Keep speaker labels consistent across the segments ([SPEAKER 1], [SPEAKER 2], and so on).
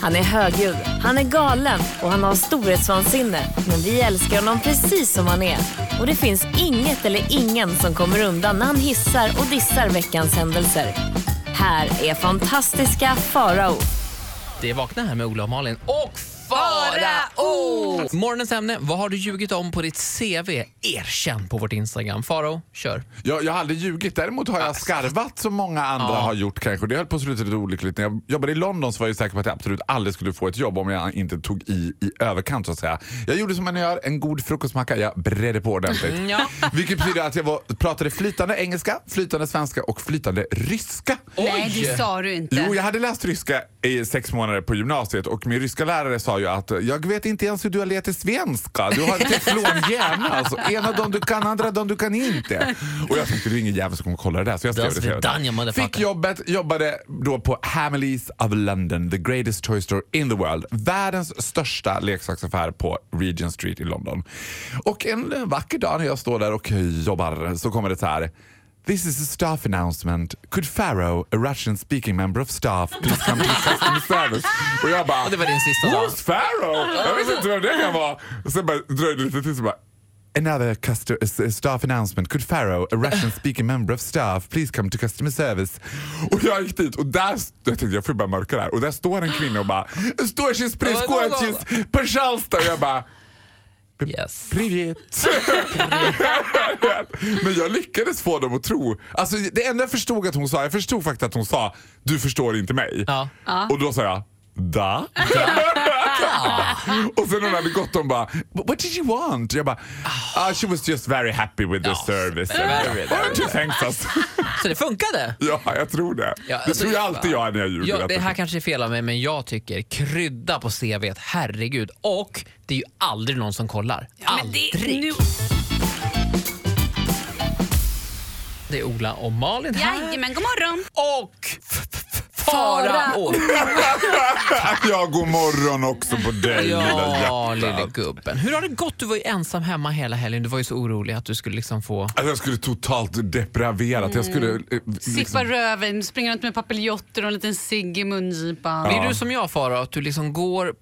[SPEAKER 1] Han är högljudd, han är galen och han har storhetsvansinne. Men vi älskar honom precis som han är. Och det finns inget eller ingen som kommer undan när han hissar och dissar veckans händelser. Här är fantastiska Farao.
[SPEAKER 2] Det är Vakna här med Ola och Malin och Farao! Morgonens ämne, vad har du ljugit om på ditt CV? Erkänn på vårt Instagram. Farao, kör.
[SPEAKER 3] Jag, jag har aldrig ljugit. Däremot har jag skarvat som många andra har gjort kanske. Det höll på att sluta lite olyckligt. När jag jobbade i London så var jag ju säker på att jag absolut aldrig skulle få ett jobb om jag inte tog i i överkant så att säga. Jag gjorde som man gör, en god frukostmacka. Jag bredde på ordentligt.
[SPEAKER 2] ja.
[SPEAKER 3] Vilket betyder att jag var, pratade flytande engelska, flytande svenska och flytande ryska.
[SPEAKER 4] Nej, det sa du inte.
[SPEAKER 3] Jo, jag hade läst ryska i sex månader på gymnasiet och min ryska lärare sa ju att jag vet inte ens hur du har lärt dig svenska. Du har teflonhjärna. Alltså. Ena dagen du kan, andra dagen du kan inte. Och jag tänkte det är ingen jävel som kommer kolla det där. Så jag skrev
[SPEAKER 2] Das
[SPEAKER 3] det fel.
[SPEAKER 2] vidanja, motherfucker.
[SPEAKER 3] Fick jobbet, jobbade då på Hamleys of London, the greatest toy store in the world. Världens största leksaksaffär på Regent Street i London. Och en vacker dag när jag står där och jobbar så kommer det så här. This is a staff announcement. Could Pharaoh, a Russian speaking member of staff, please come to the customer service? Och jag bara...
[SPEAKER 2] Och det var din sista dag.
[SPEAKER 3] Who's Pharaoh? Jag visste inte vem det kan vara. Och sen bara dröjde det lite till så bara... Another customer, s- staff announcement. Could Pharaoh, a Russian speaking member of staff, please come to customer service? Och jag gick dit och där, st- jag tänkte jag får ju bara mörka där. Och där står en kvinna och bara, står sin priskoetjis, пожалуйста. Och jag bara,
[SPEAKER 2] Yes.
[SPEAKER 3] Privet. Men jag lyckades få dem att tro. Alltså, det enda jag förstod att hon sa, jag förstod faktiskt att hon sa du förstår inte mig.
[SPEAKER 2] Ja.
[SPEAKER 3] Och då sa jag da. Och sen när hon hade gått de bara "But What did you want? Jag bara "Ah, She was just very happy with the
[SPEAKER 2] Ja,
[SPEAKER 3] service.
[SPEAKER 2] very, very.
[SPEAKER 3] And she thanks us.
[SPEAKER 2] Så det funkade.
[SPEAKER 3] ja, jag tror det.
[SPEAKER 2] Ja,
[SPEAKER 3] det
[SPEAKER 2] alltså,
[SPEAKER 3] tror jag alltid jag är när jag ljuger.
[SPEAKER 2] Ja,
[SPEAKER 3] att
[SPEAKER 2] det
[SPEAKER 3] jag-
[SPEAKER 2] här kanske är fel av mig, men jag tycker krydda på CVt, herregud. Och det är ju aldrig någon som kollar.
[SPEAKER 4] Men det-
[SPEAKER 2] aldrig.
[SPEAKER 4] nu-
[SPEAKER 2] Det är Ola och Malin här.
[SPEAKER 4] Jajamän, god morgon.
[SPEAKER 2] Och f- f- f- Farao.
[SPEAKER 3] ja, god morgon också på dig lilla
[SPEAKER 2] Ja,
[SPEAKER 3] hjärtat.
[SPEAKER 2] lille gubben. Hur har det gått? Du var ju ensam hemma hela helgen. Du var ju så orolig att du skulle liksom få...
[SPEAKER 3] Alltså, jag skulle totalt depraverat. Jag skulle... eh,
[SPEAKER 4] Mm.
[SPEAKER 2] Liksom.
[SPEAKER 4] Sippa röven, springa runt med papiljotter och en liten cigg i mungipan.
[SPEAKER 2] Blir du som jag Farao, att du liksom går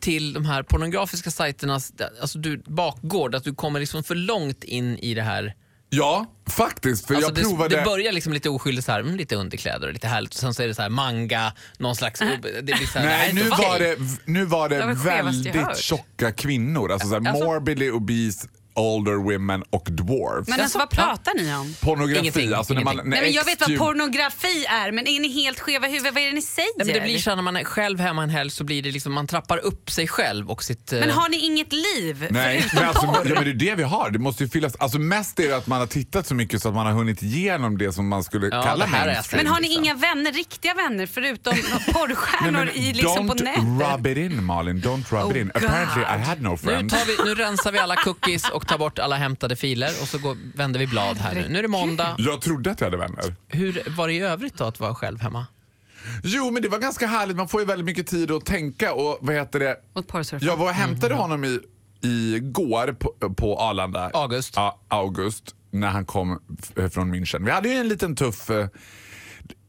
[SPEAKER 2] till de här pornografiska sajternas alltså du, bakgård, att du kommer liksom för långt in i det här?
[SPEAKER 3] Ja, faktiskt. För
[SPEAKER 2] Alltså
[SPEAKER 3] jag provade...
[SPEAKER 2] det, det börjar liksom lite oskyldigt, så här, mm, lite underkläder och lite härligt. Och sen så är det så här manga, någon slags... Det blir så här, det
[SPEAKER 3] Nej,
[SPEAKER 2] är
[SPEAKER 3] nu
[SPEAKER 2] inte okej.
[SPEAKER 3] var det, nu var det
[SPEAKER 4] Det var det skevaste jag
[SPEAKER 3] väldigt
[SPEAKER 4] hört.
[SPEAKER 3] tjocka kvinnor. Alltså, såhär,
[SPEAKER 4] Alltså-
[SPEAKER 3] morbidly obese, older women och dwarfs.
[SPEAKER 4] Men alltså vad pratar ni om?
[SPEAKER 3] Pornografi,
[SPEAKER 2] Ingenting,
[SPEAKER 3] alltså när man...
[SPEAKER 2] ingenting.
[SPEAKER 3] när
[SPEAKER 4] Nej, men jag vet vad
[SPEAKER 3] ex-
[SPEAKER 4] pornografi är, men är ni helt skeva i huvudet? Vad är det ni säger?
[SPEAKER 2] Nej, men det blir så här, när man är själv hemma en helg så blir det liksom, man trappar upp sig själv och sitt... eh,
[SPEAKER 4] Men har ni inget liv?
[SPEAKER 3] Nej,
[SPEAKER 4] förutom
[SPEAKER 3] men alltså, ja,
[SPEAKER 4] porr?
[SPEAKER 3] men det är det vi har. Det måste ju fyllas. Alltså mest är det att man har tittat så mycket så att man har hunnit igenom det som man skulle
[SPEAKER 2] Ja,
[SPEAKER 3] kalla
[SPEAKER 2] det här är
[SPEAKER 3] mainstream.
[SPEAKER 4] Men har ni
[SPEAKER 2] liksom.
[SPEAKER 4] inga vänner, riktiga vänner, förutom
[SPEAKER 3] Nej,
[SPEAKER 4] porrstjärnor
[SPEAKER 3] men
[SPEAKER 4] i, liksom på
[SPEAKER 3] don't
[SPEAKER 4] nätet? Oh,
[SPEAKER 3] rub it in Malin, don't rub it in.
[SPEAKER 4] God.
[SPEAKER 3] Apparently I had no
[SPEAKER 2] Nu,
[SPEAKER 3] friends.
[SPEAKER 2] tar vi, nu rensar vi alla cookies och tar bort alla hämtade filer och så går, vänder vi blad här nu. Nu är det måndag.
[SPEAKER 3] Jag trodde att jag hade vänner.
[SPEAKER 2] Hur var det i övrigt då att vara själv hemma?
[SPEAKER 3] Jo, men det var ganska härligt. Man får ju väldigt mycket tid att tänka och vad heter det?
[SPEAKER 4] Mot porrsurfare.
[SPEAKER 3] Jag var och hämtade honom i, igår på, på Arlanda.
[SPEAKER 2] August.
[SPEAKER 3] Ja, August. När han kom f- eh, från München. Vi hade ju en liten tuff eh,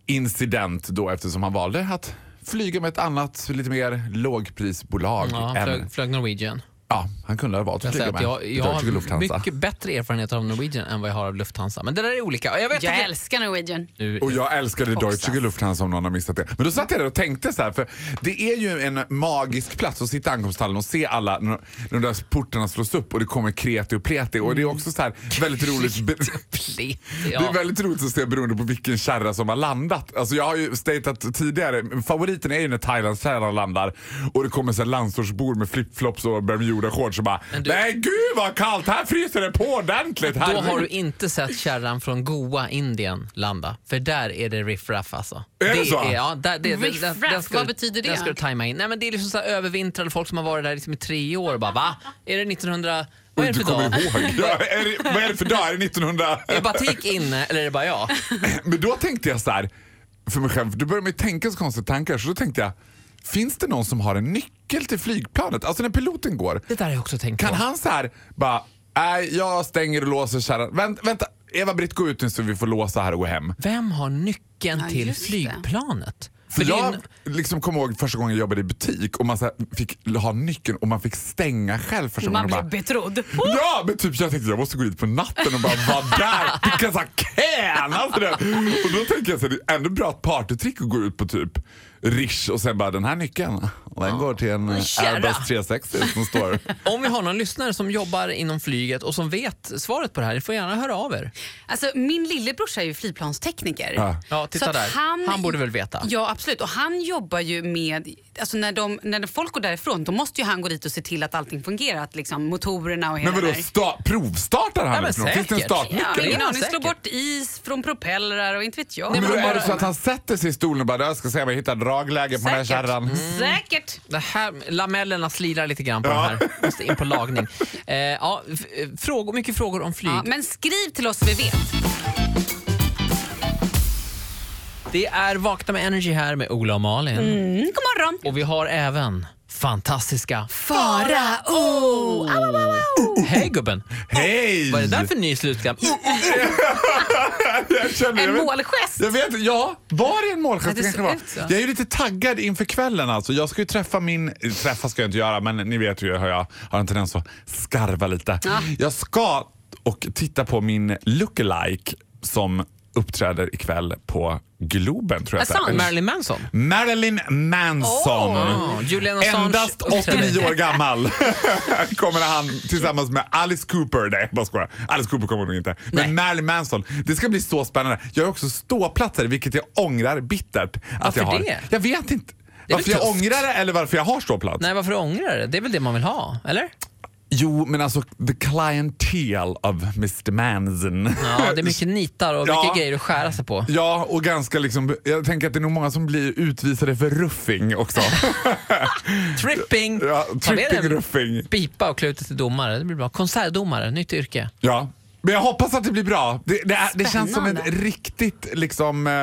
[SPEAKER 3] incident då eftersom han valde att flyga med ett annat lite mer lågprisbolag.
[SPEAKER 2] Ja, han
[SPEAKER 3] än,
[SPEAKER 2] flög, flög Norwegian.
[SPEAKER 3] ja, han kunde ha valt att
[SPEAKER 2] Jag, säger
[SPEAKER 3] flyga
[SPEAKER 2] att
[SPEAKER 3] med
[SPEAKER 2] jag, jag
[SPEAKER 3] Deutsche
[SPEAKER 2] har
[SPEAKER 3] Lufthansa.
[SPEAKER 2] mycket bättre erfarenhet av Norwegian än vad jag har av Lufthansa. Men det där är olika. Jag vet
[SPEAKER 4] Jag
[SPEAKER 2] att det-
[SPEAKER 4] älskar Norwegian.
[SPEAKER 2] Nu,
[SPEAKER 3] Och jag älskade
[SPEAKER 4] Foxas.
[SPEAKER 3] Deutsche Lufthansa om någon har missat det. Men då satt jag där och tänkte så här, för det är ju en magisk plats att sitta i ankomsthallen och se alla när de där portarna slås upp och det kommer kreti och pleti. Och det är också så här väldigt roligt. be-
[SPEAKER 2] Mm. Pleti,
[SPEAKER 3] Det
[SPEAKER 2] ja.
[SPEAKER 3] är väldigt roligt att se beroende på vilken kärra som har landat. Alltså jag har ju statat tidigare, favoriten är ju när Thailandskärran landar och det kommer så här landsortsbor med flipflops och bermudashorts och bara
[SPEAKER 2] du-
[SPEAKER 3] Nej gud vad kallt, här fryser det på ordentligt.
[SPEAKER 2] Då har
[SPEAKER 3] Herregud."
[SPEAKER 2] du inte sett kärran från Goa, Indien landa. För där är det riffraff alltså.
[SPEAKER 3] Är det så?
[SPEAKER 2] Är, ja, där, det,
[SPEAKER 4] Riff
[SPEAKER 2] den- den-
[SPEAKER 4] raff,
[SPEAKER 2] den ska du-
[SPEAKER 4] vad betyder det?
[SPEAKER 2] Den ska du tajma in. Nej, men det är liksom så här övervintrade folk som har varit där liksom i tre år och bara va? Är det 1900... Vad är det
[SPEAKER 3] Du
[SPEAKER 2] för
[SPEAKER 3] kommer
[SPEAKER 2] dag?
[SPEAKER 3] ihåg. Ja, är det, vad är det för dag? Är det 1900?
[SPEAKER 2] Är Batik inne eller är det bara jag?
[SPEAKER 3] Men då tänkte jag så här, för mig själv, då börjar man ju tänka så konstiga tankar. Så då tänkte jag, finns det någon som har en nyckel till flygplanet? Alltså när piloten går,
[SPEAKER 2] Det där har jag också tänkt
[SPEAKER 3] kan
[SPEAKER 2] på.
[SPEAKER 3] han så här bara, nej jag stänger och låser kärran. Vänt, vänta, Eva-Britt gå ut nu så vi får låsa här och gå hem.
[SPEAKER 2] Vem har nyckeln
[SPEAKER 4] Ja,
[SPEAKER 2] till
[SPEAKER 4] just det.
[SPEAKER 2] flygplanet? För det är
[SPEAKER 3] jag
[SPEAKER 2] en-
[SPEAKER 3] liksom kommer ihåg första gången jag jobbade i butik och man så här fick ha nyckeln och man fick stänga själv första
[SPEAKER 4] Man
[SPEAKER 3] gången. och
[SPEAKER 4] blir
[SPEAKER 3] bara,
[SPEAKER 4] betrodd.
[SPEAKER 3] Ja, men typ jag tänkte jag måste gå dit på natten och bara vara där. Picka så här can. Alltså det. Och då tänker jag så här, det är ändå bra ett partytrick att gå ut på typ Rish och sen bara den här nyckeln. Och den går till en eh,
[SPEAKER 2] Tjena.
[SPEAKER 3] Airbus 360 som står.
[SPEAKER 2] Om vi har någon lyssnare som jobbar inom flyget och som vet svaret på det här, ni får gärna höra av er.
[SPEAKER 4] Alltså, min lillebrorsa är ju flygplanstekniker.
[SPEAKER 3] Ja.
[SPEAKER 2] Ja, titta
[SPEAKER 4] Så att
[SPEAKER 2] där. Han borde väl veta.
[SPEAKER 4] Ja, absolut. Och han jobbar ju med... Alltså när, de, när folk går därifrån, då måste ju han gå dit och se till att allting fungerar. Att liksom, motorerna och hela
[SPEAKER 3] Men vadå,
[SPEAKER 4] det där.
[SPEAKER 3] sta- provstartar han
[SPEAKER 2] Ja, men
[SPEAKER 3] utifrån? Finns det en
[SPEAKER 2] säkert.
[SPEAKER 3] startnyckel?
[SPEAKER 4] Ja, men ingen
[SPEAKER 2] Ja,
[SPEAKER 4] aning. Slå
[SPEAKER 2] säkert.
[SPEAKER 4] bort is från propellrar och inte vet jag.
[SPEAKER 2] Nej,
[SPEAKER 3] Men då
[SPEAKER 2] men
[SPEAKER 3] är
[SPEAKER 2] bara-
[SPEAKER 3] det så att han sätter sig i stolen och bara jag ska se om jag hittar dragläge på den här
[SPEAKER 4] Säkert. Mm.
[SPEAKER 3] kärran.
[SPEAKER 4] Säkert.
[SPEAKER 2] Det här, lamellerna slirar lite grann på den här. Måste in på lagning. Eh, ja, f- eh, frågor, mycket frågor om flyg.
[SPEAKER 4] Ja, men skriv till oss så vi vet.
[SPEAKER 2] Det är Vakna med Energy här med Ola och Malin.
[SPEAKER 4] Mm, god morgon.
[SPEAKER 2] Och vi har även fantastiska...
[SPEAKER 4] Fara, oh.
[SPEAKER 2] Hej gubben!
[SPEAKER 3] Hej!
[SPEAKER 2] Vad är det där för ny slutkläm?
[SPEAKER 3] Jag känner- jag
[SPEAKER 4] En
[SPEAKER 3] vet-
[SPEAKER 4] målgest.
[SPEAKER 3] Jag vet ja, var det en målgest?
[SPEAKER 4] Ja,
[SPEAKER 3] det
[SPEAKER 4] det
[SPEAKER 3] kanske
[SPEAKER 4] ser
[SPEAKER 3] var.
[SPEAKER 4] ut så.
[SPEAKER 3] Jag är ju lite taggad inför kvällen alltså. Jag ska ju träffa min, träffa ska jag inte göra men ni vet ju hur jag har en tendens att skarva lite. Jag ska och titta på min lookalike som uppträder ikväll på Globen tror jag. att det är.
[SPEAKER 4] Assange.
[SPEAKER 2] Marilyn Manson?
[SPEAKER 3] Marilyn Manson.
[SPEAKER 2] Åh, Ah, Julian Assange
[SPEAKER 3] Endast
[SPEAKER 2] uppträder.
[SPEAKER 3] 89 år gammal kommer han tillsammans med Alice Cooper. Nej, bara skojar. Alice Cooper kommer nog inte. Men
[SPEAKER 2] Nej.
[SPEAKER 3] Marilyn Manson. Det ska bli så spännande. Jag har också ståplatser, vilket jag ångrar bittert. Att
[SPEAKER 2] Varför
[SPEAKER 3] jag har.
[SPEAKER 2] det?
[SPEAKER 3] Jag vet inte.
[SPEAKER 2] Det är
[SPEAKER 3] Varför
[SPEAKER 2] väl
[SPEAKER 3] jag
[SPEAKER 2] tufft.
[SPEAKER 3] ångrar det eller varför jag har ståplats?
[SPEAKER 2] Nej, varför ångrar du det? Det är väl det man vill ha, eller?
[SPEAKER 3] Jo, men alltså the clientele of Mr Manson.
[SPEAKER 2] Ja, det är mycket nitar och mycket
[SPEAKER 3] Ja.
[SPEAKER 2] grejer att skära sig på.
[SPEAKER 3] Ja, och ganska liksom, jag tänker att det är nog många som blir utvisade för ruffing också.
[SPEAKER 2] Tripping!
[SPEAKER 3] Ja,
[SPEAKER 2] Ta med
[SPEAKER 3] tripping,
[SPEAKER 2] en
[SPEAKER 3] ruffing.
[SPEAKER 2] Pipa och klutet till domare, det blir bra. Konsertdomare, nytt yrke.
[SPEAKER 3] Ja, men jag hoppas att det blir bra. Det, det, är, det känns som en
[SPEAKER 4] Spännande.
[SPEAKER 3] riktigt liksom... eh,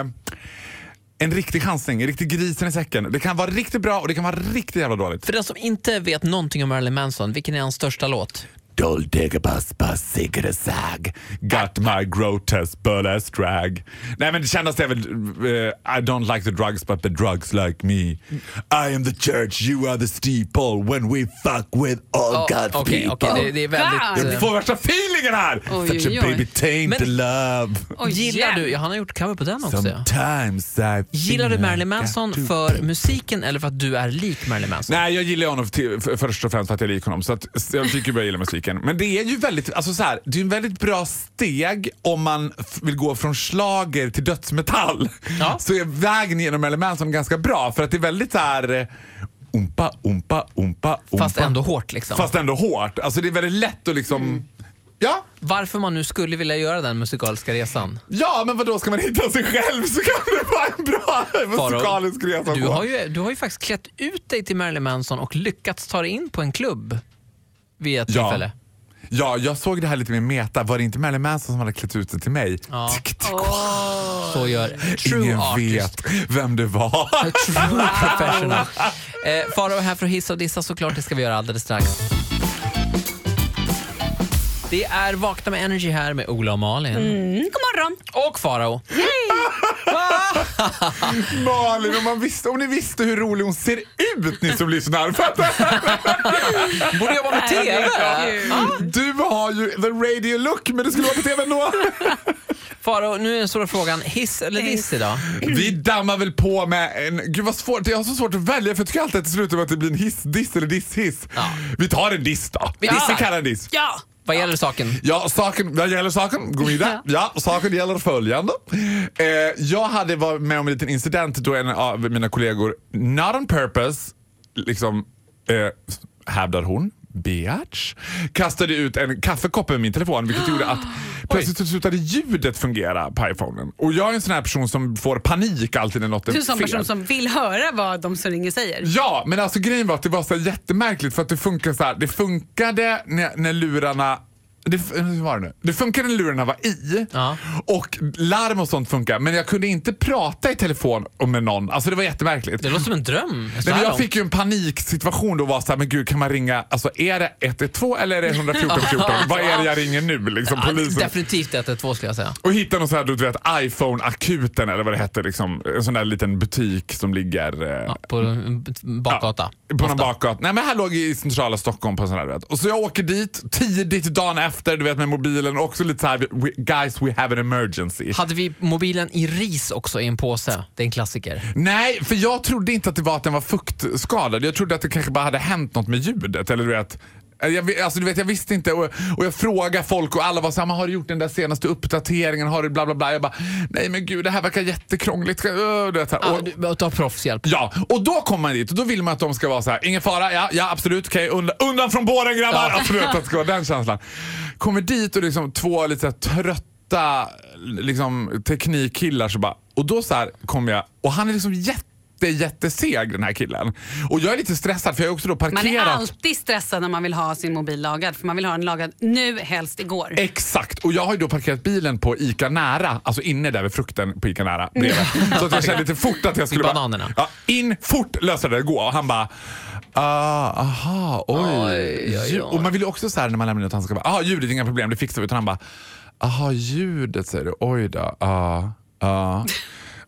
[SPEAKER 3] En riktig chansning, en riktig grisen i säcken. Det kan vara riktigt bra och det kan vara riktigt jävla dåligt.
[SPEAKER 2] För den som inte vet någonting om Marilyn Manson, vilken är hans största låt?
[SPEAKER 3] Dold digabus bus zag Got my grotesque burlesque drag Nej men det kändes det väl... eh, I don't like the drugs but the drugs like me I am the church, you are the steeple When we fuck with all
[SPEAKER 2] Ja,
[SPEAKER 3] God's
[SPEAKER 2] Okej,
[SPEAKER 3] people
[SPEAKER 2] okej, det, det är
[SPEAKER 4] God!
[SPEAKER 2] väldigt...
[SPEAKER 3] Jag
[SPEAKER 2] eh,
[SPEAKER 3] får värsta feelingen här!
[SPEAKER 4] Oj,
[SPEAKER 3] Such
[SPEAKER 4] oj,
[SPEAKER 3] a
[SPEAKER 4] oj.
[SPEAKER 3] baby taint
[SPEAKER 2] Men-
[SPEAKER 3] love
[SPEAKER 4] Oj,
[SPEAKER 2] Gillar du, ja, han har gjort cover på den också. ja.
[SPEAKER 3] Sometimes I
[SPEAKER 2] Gillar du
[SPEAKER 3] feel
[SPEAKER 2] Marilyn
[SPEAKER 3] like I
[SPEAKER 2] Manson
[SPEAKER 3] do.
[SPEAKER 2] för musiken eller för att du är lik Marilyn Manson?
[SPEAKER 3] Nej, jag gillar honom till, för, först och främst för att jag är lik honom. Så att, så jag tycker jag gillar musiken. Men det är ju väldigt, alltså så här, det är en väldigt bra steg om man f- vill gå från slager till dödsmetall.
[SPEAKER 2] Ja.
[SPEAKER 3] Så är vägen genom Marilyn Manson ganska bra för att det är väldigt så här eh, umpa, umpa, umpa, umpa.
[SPEAKER 2] Fast ändå hårt Mm. liksom.
[SPEAKER 3] Fast ändå hårt. Alltså det är väldigt lätt att liksom, ja,
[SPEAKER 2] Varför man nu skulle vilja göra den musikaliska resan?
[SPEAKER 3] ja men vadå ska man hitta sig själv så kan det vara en bra
[SPEAKER 2] Faro,
[SPEAKER 3] musikalisk resa. att
[SPEAKER 2] Du
[SPEAKER 3] gå.
[SPEAKER 2] har, ju, du har ju faktiskt klätt ut dig till Marilyn Manson och lyckats ta dig in på en klubb vid ett tillfälle.
[SPEAKER 3] Ja, jag såg det här lite mer meta. Var det inte Marilyn Manson som hade klätt ut det till mig?
[SPEAKER 2] Ja.
[SPEAKER 3] Tick, tick.
[SPEAKER 2] Så gör true
[SPEAKER 3] Ingen
[SPEAKER 2] artist.
[SPEAKER 3] vet vem det var.
[SPEAKER 2] True professional. Eh, Farao är här för att hissa och dissa såklart. Det ska vi göra alldeles strax. Det är Vakna med Energy här med Ola och Malin.
[SPEAKER 4] Mm, god morgon.
[SPEAKER 2] Och Farao.
[SPEAKER 3] Malin, om, man visste, om ni visste hur rolig hon ser ut ni som lyssnar. Fattar?
[SPEAKER 2] Borde jobba med TV.
[SPEAKER 3] Du har ju the radio look men du skulle vara på TV ändå.
[SPEAKER 2] Farao, nu är den stora frågan. Hiss eller diss idag?
[SPEAKER 3] Vi dammar väl på med en... Gud vad svårt, jag har så svårt att välja för jag tycker alltid att det slutar med att det blir en hiss-diss eller diss-hiss.
[SPEAKER 2] Ja.
[SPEAKER 3] Vi tar en diss då.
[SPEAKER 2] Vi
[SPEAKER 3] Vi
[SPEAKER 2] dissar.
[SPEAKER 3] kallar en diss.
[SPEAKER 4] Ja.
[SPEAKER 2] Vad gäller saken?
[SPEAKER 3] Ja, saken, vad gäller saken? God middag. Ja, saken gäller följande. Eh, jag hade varit med om en liten incident då en av mina kollegor, not on purpose, liksom, eh, hävdar hon, bitch, kastade ut en kaffekopp över min telefon vilket gjorde att plötsligt så slutade ljudet fungera på iPhonen. Och jag är en sån här person som får panik alltid när något är
[SPEAKER 4] Du är en sån
[SPEAKER 3] fel.
[SPEAKER 4] person som vill höra vad de som ringer säger.
[SPEAKER 3] Ja, men alltså grejen var att det var så här jättemärkligt för att det funkade så här. Det funkade när, när lurarna Det, f- hur var det, nu? det funkade när lurarna var i
[SPEAKER 2] Ja.
[SPEAKER 3] och larm och sånt funkar men jag kunde inte prata i telefon med någon. Alltså det var jättemärkligt.
[SPEAKER 2] Det låter som en dröm. Så
[SPEAKER 3] Nej,
[SPEAKER 2] här
[SPEAKER 3] men jag
[SPEAKER 2] långt.
[SPEAKER 3] fick ju en paniksituation då och var såhär, men gud kan man ringa, alltså är det 112 eller är det 114 14? Vad är det jag ringer nu liksom?
[SPEAKER 2] Ja,
[SPEAKER 3] Polisen.
[SPEAKER 2] Definitivt 112 skulle jag säga.
[SPEAKER 3] Och hittade någon sån här, du vet, iPhone-akuten eller vad det hette. Liksom, en sån där liten butik som ligger... eh,
[SPEAKER 2] Ja, på en b- bakgata.
[SPEAKER 3] Ja, på någon bakgata. Nej men här låg i centrala Stockholm på en sån här du vet. Och så jag åker dit tidigt dagen efter du vet med mobilen och också lite så här we, guys we have an emergency.
[SPEAKER 2] Hade vi mobilen i ris också i en påse? Det är en klassiker.
[SPEAKER 3] Nej, för jag trodde inte att det var att den var fuktskadad. Jag trodde att det kanske bara hade hänt något med ljudet eller du vet. Jag, vi- alltså, du vet, jag visste inte och, och jag frågade folk och alla var såhär, "Men har du gjort den där senaste uppdateringen? Har du bla bla bla? Jag bara, nej men gud det här verkar jättekrångligt. Ska- öh", Du vet, så här.
[SPEAKER 2] Ah,
[SPEAKER 3] och,
[SPEAKER 2] du, ta proffshjälp.
[SPEAKER 3] Ja, och då kommer man dit och då vill man att de ska vara så här, ingen fara, ja, ja absolut, okej, undan, undan från båren grabbar!
[SPEAKER 2] Ja.
[SPEAKER 3] Absolut att det ska vara den känslan. Kommer dit och liksom två lite så här trötta liksom, teknikkillar så bara, och då så här kommer jag, och han är liksom jätte jätteseg den här killen. Och jag är lite stressad för jag har också då
[SPEAKER 4] Man är
[SPEAKER 3] parkerat.
[SPEAKER 4] alltid stressad när man vill ha sin mobil lagad för man vill ha den lagad nu, helst igår.
[SPEAKER 3] Exakt, och jag har ju då parkerat bilen på ICA Nära, alltså inne där vid frukten på ICA
[SPEAKER 4] Mm.
[SPEAKER 3] Nära. Bredvid. Så att jag kände lite fort att jag skulle... bara-
[SPEAKER 2] bananerna.
[SPEAKER 3] Ja, in fort lösa det, gå. Och han bara... ah, aha, oj.
[SPEAKER 2] Oj, oj, oj.
[SPEAKER 3] Och man vill ju också så här när man lämnar ut, han ska bara, ah, ljudet, inga problem, det fixar vi. Utan han bara, aha, ljudet säger du, oj då, ja, ja,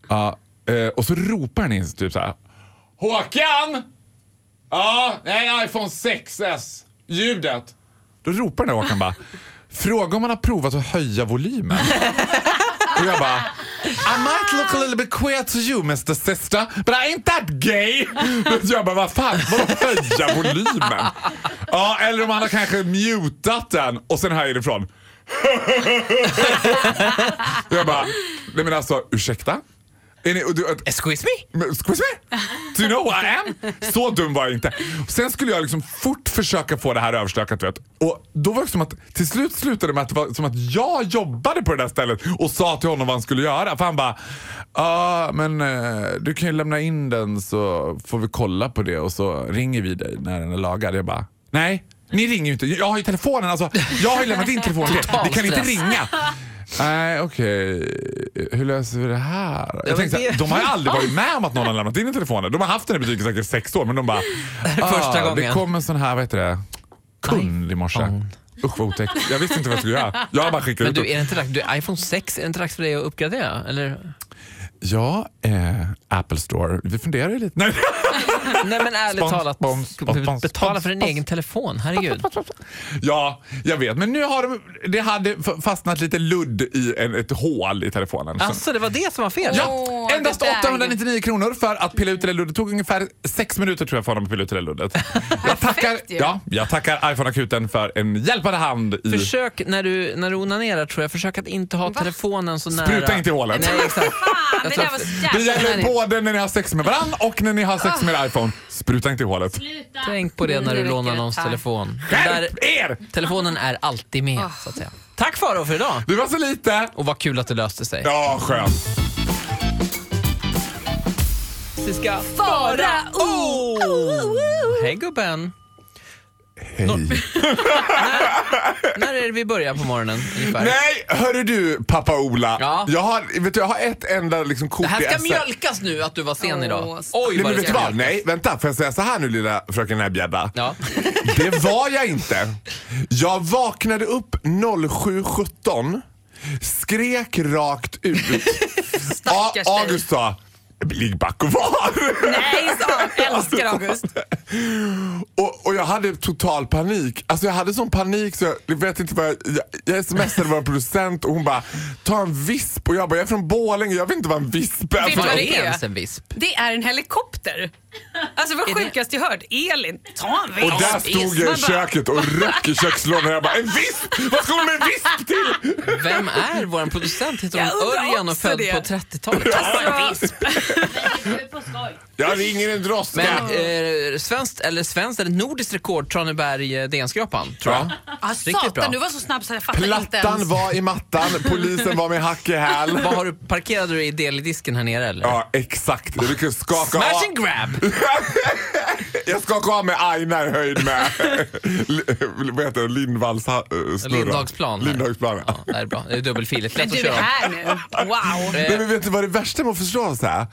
[SPEAKER 3] ja. Eh, Och så ropar han in typ så här, Håkan! Ja, nej, iPhone 6S. Ljudet. Då ropar den där Håkan bara, fråga om man har provat att höja volymen. Och jag bara, I might look a little bit queer to you Mr Sister, but I ain't that gay. Men jag bara, vad fan, vadå höja volymen? Ja, eller om han har kanske mutat den och sen höjer ifrån. Och jag bara, nej men alltså ursäkta? Är ni, och du,
[SPEAKER 2] Excuse me?
[SPEAKER 3] men, Excuse me? Do you know who I am? Så dum var jag inte. Sen skulle jag liksom fort försöka få det här överstökat. Vet. Och då var det som att till slut slutade det med att det var som att jag jobbade på det där stället och sa till honom vad han skulle göra. För han bara, ja men eh, du kan ju lämna in den så får vi kolla på det och så ringer vi dig när den är lagad. Jag bara, nej. Ni ringer ju inte. Jag har ju telefonen. Alltså, jag har ju lämnat in telefonen till er. Ni kan inte
[SPEAKER 2] Totalstress.
[SPEAKER 3] ringa. Nej, okej. Hur löser vi det här? Jag tänkte, så här,
[SPEAKER 2] det-
[SPEAKER 3] de har ju aldrig varit med om att någon har lämnat in en telefon. De har haft den i butiken säkert sex år, men de bara... "Ah,
[SPEAKER 2] Första
[SPEAKER 3] Det
[SPEAKER 2] gången."
[SPEAKER 3] kom en sån här, vad heter det, kund i morse.
[SPEAKER 2] iPhone.
[SPEAKER 3] Usch vad otäckt. Jag visste inte vad jag skulle göra. Jag bara
[SPEAKER 2] Men
[SPEAKER 3] skickade ut
[SPEAKER 2] du,
[SPEAKER 3] dem.
[SPEAKER 2] är det inte dags, du, iPhone 6, är det inte dags för dig att uppgradera? Eller?
[SPEAKER 3] Ja, eh, Apple Store. Vi funderar ju lite. Nej.
[SPEAKER 2] Nej men ärligt
[SPEAKER 3] Spons,
[SPEAKER 2] talat,
[SPEAKER 3] spons, spons, spons,
[SPEAKER 2] betala för din
[SPEAKER 3] spons.
[SPEAKER 2] egen telefon, herregud.
[SPEAKER 3] Ja, jag vet. Men nu har de, det hade f- fastnat lite ludd i en, ett hål i telefonen. Så-
[SPEAKER 2] Alltså det var det som var fel?
[SPEAKER 3] Ja,
[SPEAKER 4] Åh,
[SPEAKER 3] endast
[SPEAKER 4] det där.
[SPEAKER 3] 899 kronor för att pilla ut det där luddet. Det tog ungefär sex minuter tror jag för honom att pilla ut det där luddet. Jag tackar,
[SPEAKER 4] ju.
[SPEAKER 3] ja, jag tackar iPhone-akuten för en hjälpande hand. I,
[SPEAKER 2] Försök när du, när du onanerar, tror jag, försök att inte ha telefonen så nära.
[SPEAKER 3] Spruta inte i hålet.
[SPEAKER 2] Nej, exakt. Jag
[SPEAKER 4] Fan, det
[SPEAKER 2] tror
[SPEAKER 4] där var
[SPEAKER 2] att-
[SPEAKER 4] så
[SPEAKER 3] det
[SPEAKER 4] jävla Ah.
[SPEAKER 3] gäller
[SPEAKER 4] onödigt.
[SPEAKER 3] både när ni har sex med varann och när ni har sex med er iPhone. Spruta inte i hålet.
[SPEAKER 2] Tänk på det när
[SPEAKER 4] Nu
[SPEAKER 2] du
[SPEAKER 4] räcker
[SPEAKER 2] lånar
[SPEAKER 4] det,
[SPEAKER 2] någons
[SPEAKER 4] tack.
[SPEAKER 2] telefon. Där,
[SPEAKER 3] Skärp er!
[SPEAKER 2] telefonen är alltid med, så
[SPEAKER 4] Oh.
[SPEAKER 2] att säga. Tack Faro för idag!
[SPEAKER 3] Det var så lite.
[SPEAKER 2] Och vad kul att det löste sig.
[SPEAKER 3] Ja, skönt.
[SPEAKER 2] Vi ska fara oh! Hej gubben!
[SPEAKER 3] Hej.
[SPEAKER 2] När är det vi börjar på morgonen ungefär?
[SPEAKER 3] Nej, hörru du pappa Ola.
[SPEAKER 2] Ja.
[SPEAKER 3] Jag, har, vet du, jag har ett enda liksom, kort
[SPEAKER 2] Det här
[SPEAKER 3] i
[SPEAKER 2] ska
[SPEAKER 3] SL.
[SPEAKER 2] mjölkas nu att du var sen
[SPEAKER 4] Åh,
[SPEAKER 2] idag.
[SPEAKER 4] stackars.
[SPEAKER 2] Oj
[SPEAKER 3] Nej,
[SPEAKER 2] vad
[SPEAKER 3] men
[SPEAKER 2] det
[SPEAKER 3] vet du
[SPEAKER 2] ska
[SPEAKER 3] vad?
[SPEAKER 2] mjölkas.
[SPEAKER 3] Nej, vänta. Får jag säga så här nu lilla fröken Näbbgädda?
[SPEAKER 2] Ja.
[SPEAKER 3] Det var jag inte. Jag vaknade upp 07.17, skrek rakt ut. A-
[SPEAKER 4] Stackars dig.
[SPEAKER 3] August sa Ligg back och var!
[SPEAKER 4] Nej, sa han. Älskar August.
[SPEAKER 3] Och, och jag hade total panik. Alltså jag hade sån panik så jag, jag vet inte vad jag, jag, jag smsade vår producent och hon bara ta en visp och jag bara jag är från Borlänge jag vet inte vad en visp är.
[SPEAKER 4] Vet
[SPEAKER 3] för
[SPEAKER 4] du vad
[SPEAKER 3] något."
[SPEAKER 2] Vad
[SPEAKER 4] det
[SPEAKER 2] är
[SPEAKER 4] är?
[SPEAKER 2] ens en visp?
[SPEAKER 4] Det är en helikopter. Alltså vad sjukast jag hört. Elin, ta en
[SPEAKER 3] Och där stod jag i köket och röck i kökslådan och jag bara en visp! Vad ska hon med en visp till?
[SPEAKER 2] Vem är vår producent? Heter
[SPEAKER 4] Jag
[SPEAKER 2] hon
[SPEAKER 4] undrar
[SPEAKER 2] Örjan och
[SPEAKER 4] också
[SPEAKER 2] född
[SPEAKER 4] det.
[SPEAKER 2] på 30-talet?
[SPEAKER 4] Alltså,
[SPEAKER 3] Jag ringer en droska.
[SPEAKER 2] Men eh, svenskt eller svenskt eller nordiskt rekord Traneberg eh, DN-skrapan tror jag.
[SPEAKER 4] ah,
[SPEAKER 2] Riktigt bra.
[SPEAKER 4] satan, du var så snabb så jag fattar inte
[SPEAKER 3] Plattan
[SPEAKER 4] ens.
[SPEAKER 3] var i mattan, polisen var med hack i häl.
[SPEAKER 2] Vad har du, parkerade du i del i disken här nere eller?
[SPEAKER 3] Ja, exakt. Jag lyckades skaka
[SPEAKER 2] Smash
[SPEAKER 3] av.
[SPEAKER 2] and grab!
[SPEAKER 3] jag skakar av mig Aina i höjd med L- vad heter det? Lindvalls ha- eh, snurra.
[SPEAKER 2] Lindagsplan här.
[SPEAKER 3] Lindagsplan.
[SPEAKER 2] Ja, det här är bra. Det är dubbelfiligt.
[SPEAKER 4] Men
[SPEAKER 2] Lätt att
[SPEAKER 4] du är
[SPEAKER 2] köra om.
[SPEAKER 4] här nu. Wow.
[SPEAKER 3] Nej, men vet du vad det värsta med att förstå så här?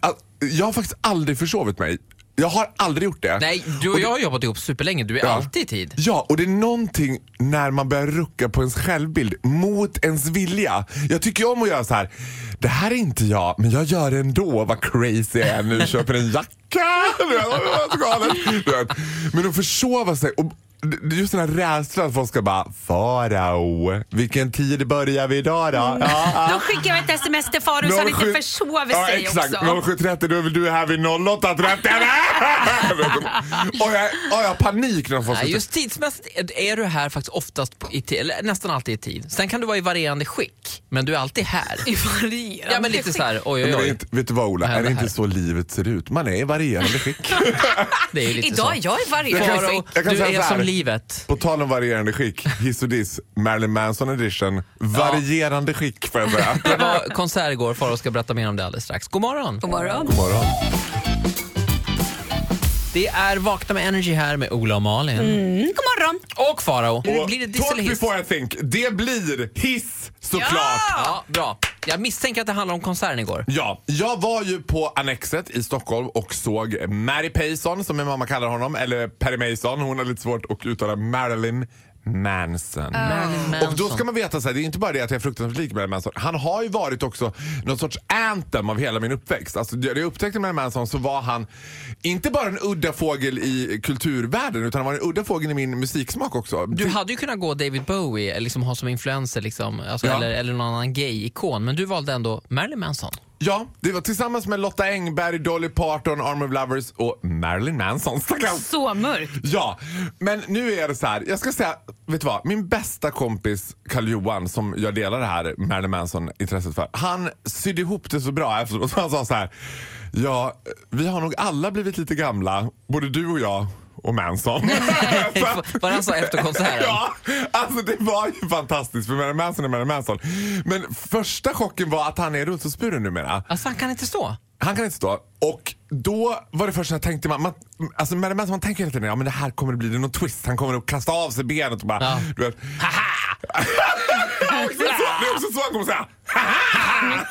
[SPEAKER 3] Att jag har faktiskt aldrig försovit mig. Jag har aldrig gjort det.
[SPEAKER 2] Nej, du och jag har jobbat ihop superlänge. Du är alltid i tid.
[SPEAKER 3] Ja, och det är någonting när man börjar rucka på ens självbild mot ens vilja. Jag tycker ju om att göra så här. Det här är inte jag, men jag gör det ändå. Vad crazy jag är nu. Köper en jacka. Det var så galet. Du vet. Men att försova sig. Och det är just den här rädslan att folk ska bara Farao, vilken tid börjar vi idag då? Ja, ja.
[SPEAKER 4] Då skickar vi ett sms till Farao så Mm. han inte
[SPEAKER 3] 07
[SPEAKER 4] försover
[SPEAKER 3] ja,
[SPEAKER 4] sig
[SPEAKER 3] exakt.
[SPEAKER 4] också.
[SPEAKER 3] 07.30, då är väl du här vid 08.30. och, jag, och jag har panik när folk
[SPEAKER 2] Nej,
[SPEAKER 3] ska
[SPEAKER 2] just tidsmässigt är- är du här faktiskt oftast på, i ti- eller nästan alltid i tid. Sen kan du vara i varierande skick, men du är alltid här.
[SPEAKER 4] I varierande
[SPEAKER 2] Ja, men lite så här, oj, oj,
[SPEAKER 3] Men det är
[SPEAKER 2] oj.
[SPEAKER 3] inte, vet du vad Ola, är
[SPEAKER 2] händer
[SPEAKER 3] det inte
[SPEAKER 2] här?
[SPEAKER 3] så livet ser ut? Man är i varierande skick.
[SPEAKER 2] Det är ju lite
[SPEAKER 4] Idag
[SPEAKER 2] så.
[SPEAKER 4] är jag i varierande
[SPEAKER 2] Faro,
[SPEAKER 4] skick.
[SPEAKER 3] jag kan
[SPEAKER 2] du
[SPEAKER 3] säga
[SPEAKER 2] är
[SPEAKER 3] så här.
[SPEAKER 2] som livet.
[SPEAKER 3] På tal om varierande skick, hiss och diss, Marilyn Manson edition. Varierande skick får jag säga.
[SPEAKER 2] Det var konsert igår, Farao ska berätta mer om det alldeles strax. God morgon!
[SPEAKER 4] God morgon. Mm,
[SPEAKER 3] God morgon.
[SPEAKER 2] Det är Vakna med Energy här med Ola och Malin.
[SPEAKER 4] Mm, god morgon.
[SPEAKER 2] Och Farao.
[SPEAKER 3] Och
[SPEAKER 2] Blir det diss
[SPEAKER 3] Talk
[SPEAKER 2] eller hiss?
[SPEAKER 3] before I think. Det blir hiss såklart. Ja!
[SPEAKER 2] Ja, bra. Jag misstänker att det handlar om konserten igår.
[SPEAKER 3] jag var ju på Annexet i Stockholm och såg Mary Payson som min mamma kallar honom, eller Perry Mason. Hon har lite svårt att uttala Marilyn Manson. Och då ska man veta så här, det är inte bara det att jag är fruktansvärt lik Marilyn Manson. Han har ju varit också någon sorts anthem av hela min uppväxt. Alltså, det jag upptäckte med Marilyn Manson så var han inte bara en udda fågel i kulturvärlden utan han var en udda fågel i min musiksmak också.
[SPEAKER 2] Du hade ju kunnat gå David Bowie, eller liksom ha som influencer, liksom, alltså,
[SPEAKER 3] Ja.
[SPEAKER 2] eller, eller någon annan gay-ikon, men du valde ändå Marilyn Manson.
[SPEAKER 3] Ja, det var tillsammans med Lotta Engberg, Dolly Parton, Arm of Lovers och Marilyn Manson. Stackars.
[SPEAKER 4] Så mörkt.
[SPEAKER 3] Ja, men nu är det så här. Jag ska säga, vet du vad? Min bästa kompis Karl-Johan som jag delar det här Marilyn Manson-intresset för. Han sydde ihop det så bra efteråt. Han sa så här. Ja, vi har nog alla blivit lite gamla. Både du och jag och Manson. Så att-
[SPEAKER 2] Vad han sa efter konserten.
[SPEAKER 3] Ja, alltså det var ju fantastiskt för Marilyn Manson är Marilyn Manson. Men första chocken var att han är rullstolsburen numera.
[SPEAKER 2] Alltså han kan inte stå.
[SPEAKER 3] Han kan inte stå. Och då var det första jag tänkte, man, man, alltså med det mesta man tänker hela tiden, ja men det här kommer att bli det någon twist. Han kommer att kasta av sig benet och bara,
[SPEAKER 2] Ja.
[SPEAKER 3] du vet, haha! det är också så han kommer säga, haha!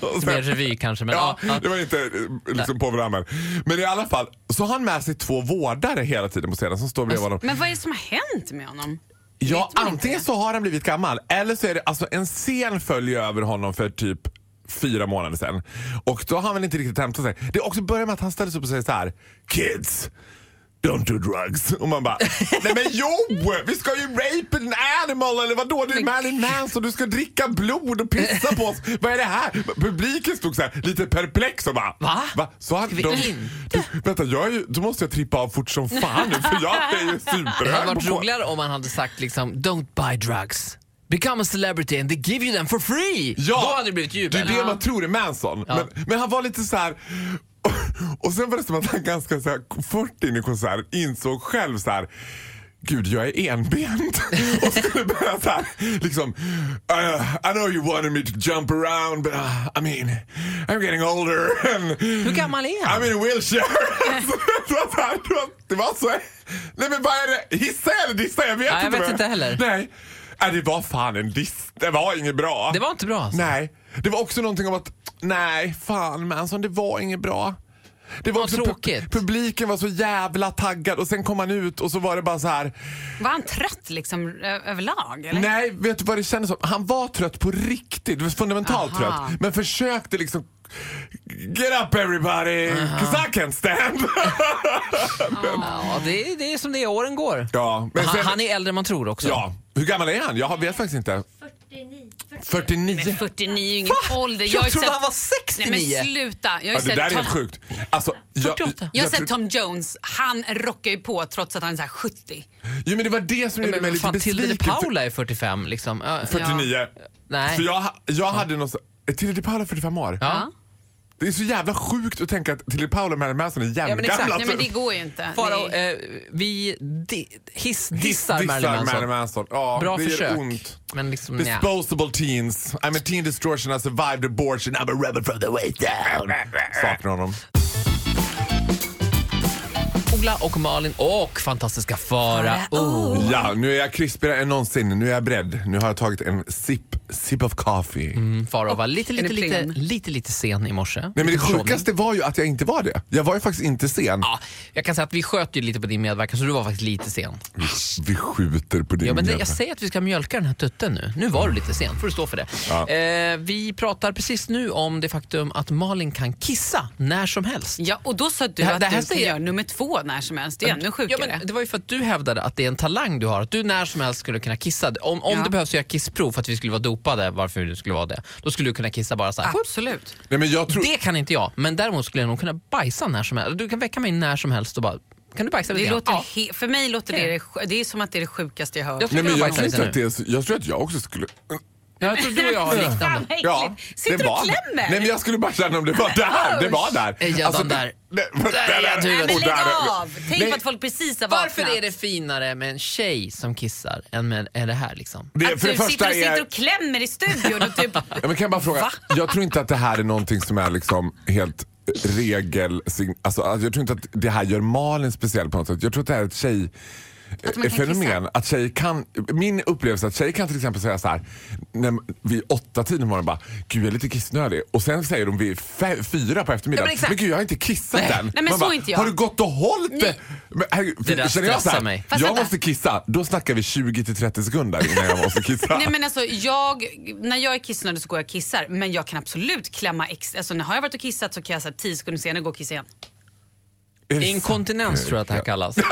[SPEAKER 3] Och
[SPEAKER 2] Mer
[SPEAKER 3] sen-
[SPEAKER 2] revy kanske, men
[SPEAKER 3] Ja,
[SPEAKER 2] ja. ja.
[SPEAKER 3] det var inte eh, liksom på programmen. Men i alla fall, så har han med sig två vårdare hela tiden på scenen som står
[SPEAKER 2] Alltså,
[SPEAKER 3] bredvid honom.
[SPEAKER 4] Men vad är det som har hänt med honom?
[SPEAKER 3] Ja,
[SPEAKER 4] Vet man inte
[SPEAKER 3] antingen
[SPEAKER 4] det?
[SPEAKER 3] så har han blivit gammal eller så är det alltså en scen följer över honom för typ fyra månader sedan. Och då har han väl inte riktigt hämtat sig. Det också börjar med att han ställer sig upp och säger så här. Kids! Don't do drugs. Och man bara, nej men jo! Vi ska ju rape an animal eller vadå? Det är Marilyn Manson, du ska dricka blod och pissa på oss. Vad är det här? Publiken stod så här lite perplex och bara,
[SPEAKER 2] Va?
[SPEAKER 3] Så han,
[SPEAKER 2] Ska vi
[SPEAKER 3] de,
[SPEAKER 2] inte?
[SPEAKER 3] Du, vänta, jag är ju, då måste jag trippa av fort som fan nu för jag är ju
[SPEAKER 2] Det hade
[SPEAKER 3] superhög
[SPEAKER 2] varit
[SPEAKER 3] på kola.
[SPEAKER 2] roligare om han hade sagt liksom “Don't buy drugs, become a celebrity and they give you them for free”. Då hade det blivit jubel.
[SPEAKER 3] Det är det man tror är Manson.
[SPEAKER 2] Ja.
[SPEAKER 3] Men, men han var lite så här. Och sen var det som att han ganska så här, fort in i konserten insåg själv så här. Gud, jag är enbent. och skulle börja så här, liksom. "Uh, I know you wanted me to jump around but uh, I mean, I'm getting older. And,
[SPEAKER 2] Hur gammal är han?
[SPEAKER 3] I'm in a wheelchair. Så det var så här, det var- det var så. Nej men vad är det? Hissa eller dissa? Jag vet
[SPEAKER 2] Nej, jag
[SPEAKER 3] inte.
[SPEAKER 2] vet
[SPEAKER 3] vad
[SPEAKER 2] inte heller.
[SPEAKER 3] Nej. Nej, det var fan en diss. Det var inget bra.
[SPEAKER 2] Det var inte bra alltså.
[SPEAKER 3] Nej, det var också någonting om att nej, fan Manson, det var inget bra. Det var
[SPEAKER 2] Vad
[SPEAKER 3] också pu-
[SPEAKER 2] tråkigt.
[SPEAKER 3] Publiken var så jävla taggad och sen kom han ut och så var det bara så här.
[SPEAKER 4] Var han trött liksom ö- överlag? Eller?
[SPEAKER 3] Nej, vet du vad det kändes som? Han var trött på riktigt, det var fundamentalt
[SPEAKER 4] Aha.
[SPEAKER 3] trött. Men försökte liksom Get up everybody, 'cause I can't stand.
[SPEAKER 2] Ja, det, är, det är som det är, åren går.
[SPEAKER 3] ja, men
[SPEAKER 2] han,
[SPEAKER 3] sen,
[SPEAKER 2] han är äldre än man tror också.
[SPEAKER 3] ja, hur gammal är han? Jag vet faktiskt inte.
[SPEAKER 5] 49.
[SPEAKER 3] 49.
[SPEAKER 4] 49 är ju ingen ålder.
[SPEAKER 2] Jag,
[SPEAKER 4] har ju
[SPEAKER 2] trodde
[SPEAKER 4] sett-
[SPEAKER 2] han var
[SPEAKER 4] Nej
[SPEAKER 2] 69.
[SPEAKER 4] men sluta. Jag har ju
[SPEAKER 3] Ja, det
[SPEAKER 4] sett
[SPEAKER 3] där är
[SPEAKER 4] Tom-
[SPEAKER 3] helt sjukt. Alltså, jag,
[SPEAKER 2] 48.
[SPEAKER 4] Jag har
[SPEAKER 3] tror-
[SPEAKER 4] sett Tom Jones, han rockar ju på trots att han är så här 70.
[SPEAKER 3] Jo men det var det som gjorde mig lite
[SPEAKER 2] fan, Tilde de
[SPEAKER 3] besviken. för-
[SPEAKER 2] Paula är 45 liksom. Ja,
[SPEAKER 3] 49.
[SPEAKER 2] Nej.
[SPEAKER 3] För jag, jag hade någon så- eh, Tilde de Paula är 45 år.
[SPEAKER 2] Ja.
[SPEAKER 3] Det är så jävla sjukt att tänka att Tilde de Paula och Marilyn Manson är
[SPEAKER 2] Ja, men
[SPEAKER 3] jämngamla.
[SPEAKER 2] exakt.
[SPEAKER 4] Nej men det går ju inte.
[SPEAKER 2] Farao,
[SPEAKER 4] Nej.
[SPEAKER 2] eh, vi di- hissdissar
[SPEAKER 3] Dissar
[SPEAKER 2] Marilyn
[SPEAKER 3] Marilyn
[SPEAKER 2] Manson.
[SPEAKER 3] Manson. Ja,
[SPEAKER 2] Bra
[SPEAKER 3] det
[SPEAKER 2] försök.
[SPEAKER 3] gör ont.
[SPEAKER 2] Men liksom, nja.
[SPEAKER 3] Disposable teens. I'm a teen distortion, I survived abortion, I'm a rebel from the way down. Saknar honom.
[SPEAKER 2] Ola och Malin och fantastiska Farao.
[SPEAKER 3] Ja, nu är jag krispigare än någonsin. Nu är jag beredd. Nu har jag tagit en sip, sip of coffee.
[SPEAKER 2] Mm, Farao var lite
[SPEAKER 4] Är
[SPEAKER 2] lite,
[SPEAKER 4] det
[SPEAKER 2] lite,
[SPEAKER 4] plen?
[SPEAKER 2] lite, lite sen i morse.
[SPEAKER 3] Nej, men det
[SPEAKER 2] Lite Ah. försoning.
[SPEAKER 3] sjukaste var ju att jag inte var det. Jag var ju faktiskt inte sen.
[SPEAKER 2] Ja, jag kan säga att vi sköt ju lite på din medverkan så du var faktiskt lite sen.
[SPEAKER 3] Vi skjuter på din
[SPEAKER 2] Ja, men det,
[SPEAKER 3] jävla-
[SPEAKER 2] jag säger att vi ska mjölka den här tutten nu. Nu var du lite sen, får du stå för det.
[SPEAKER 3] Ja.
[SPEAKER 2] Eh, vi pratar precis nu om det faktum att Malin kan kissa när som helst.
[SPEAKER 4] Ja, och då sa du
[SPEAKER 2] Det här-
[SPEAKER 4] att
[SPEAKER 2] det här
[SPEAKER 4] du kan
[SPEAKER 2] säger-
[SPEAKER 4] göra nummer två när som helst. Det är ännu
[SPEAKER 2] Ja,
[SPEAKER 4] sjukare.
[SPEAKER 2] men det var ju för att du hävdade att det är en talang du har, att du när som helst skulle kunna kissa. Om, om
[SPEAKER 4] Ja.
[SPEAKER 2] det behövs göra kissprov för att vi skulle vara dopade, varför det skulle vara det, då skulle du kunna kissa bara så här.
[SPEAKER 4] Absolut.
[SPEAKER 3] Nej, men jag tror...
[SPEAKER 2] Det kan inte jag, men däremot skulle jag nog kunna bajsa när som helst. Du kan väcka mig när som helst och bara, kan du bajsa lite
[SPEAKER 4] Det
[SPEAKER 2] grann?"
[SPEAKER 4] låter
[SPEAKER 2] Ja.
[SPEAKER 4] he- för mig låter det, det sj- det är som att det är det sjukaste jag hört.
[SPEAKER 2] Jag
[SPEAKER 3] Nej, men
[SPEAKER 2] Jag
[SPEAKER 3] jag,
[SPEAKER 2] bajsar
[SPEAKER 3] tror
[SPEAKER 2] lite
[SPEAKER 3] inte
[SPEAKER 2] nu.
[SPEAKER 3] att det är så... jag tror att jag också skulle...
[SPEAKER 2] Jag tror du och jag har liknande.
[SPEAKER 4] Fan, vad äckligt. Sitter du och klämmer?
[SPEAKER 3] Nej, men jag skulle bara känna om det var där. Det var där.
[SPEAKER 2] Är jag den där?
[SPEAKER 3] Nej,
[SPEAKER 2] Där är jag, du.
[SPEAKER 4] Nej, men
[SPEAKER 3] och
[SPEAKER 4] lägg
[SPEAKER 3] där är-
[SPEAKER 4] av! Tänk
[SPEAKER 3] Nej.
[SPEAKER 4] på att folk precis har vaknat.
[SPEAKER 2] Varför är det finare med en tjej som kissar än med än det här? Liksom?
[SPEAKER 3] Det,
[SPEAKER 4] Att
[SPEAKER 3] för
[SPEAKER 4] du
[SPEAKER 3] det första
[SPEAKER 4] sitter och,
[SPEAKER 3] är...
[SPEAKER 4] sitter och klämmer i studion och typ...
[SPEAKER 3] Ja, men kan jag bara fråga,
[SPEAKER 4] Va?
[SPEAKER 3] jag tror inte att det här är någonting som är liksom helt regel... Alltså, alltså, jag tror inte att det här gör Malin speciell på något sätt. Jag tror att det här är ett tjej...
[SPEAKER 4] Att man kan
[SPEAKER 3] fenomen.
[SPEAKER 4] kissa.
[SPEAKER 3] Att tjejer kan, min upplevelse är att tjejer kan till exempel säga så här när, vid åtta tiden på morgonen bara “Gud jag är lite kissnödig” och sen säger de vid fe, fyra på
[SPEAKER 2] Ja,
[SPEAKER 3] eftermiddagen
[SPEAKER 2] men exakt.
[SPEAKER 3] gud jag har inte kissat än”.
[SPEAKER 4] men
[SPEAKER 3] Man
[SPEAKER 4] så är inte jag.
[SPEAKER 3] “Har du gått och hållit det?”
[SPEAKER 4] Nej.
[SPEAKER 3] men, herregud,
[SPEAKER 2] Det där
[SPEAKER 3] Känner jag så
[SPEAKER 2] stressar
[SPEAKER 3] här,
[SPEAKER 2] mig.
[SPEAKER 4] Fast
[SPEAKER 3] jag
[SPEAKER 4] vänta.
[SPEAKER 3] måste kissa, då snackar vi 20-30 sekunder innan jag måste kissa.
[SPEAKER 4] Nej men alltså jag, när jag är kissnödig så går jag och kissar men jag kan absolut klämma extra. Alltså när har jag varit och kissat så kan jag säga tio sekunder senare gå och kissa igen.
[SPEAKER 3] Är det sant?
[SPEAKER 2] Inkontinens tror jag att det här kallas. Eh,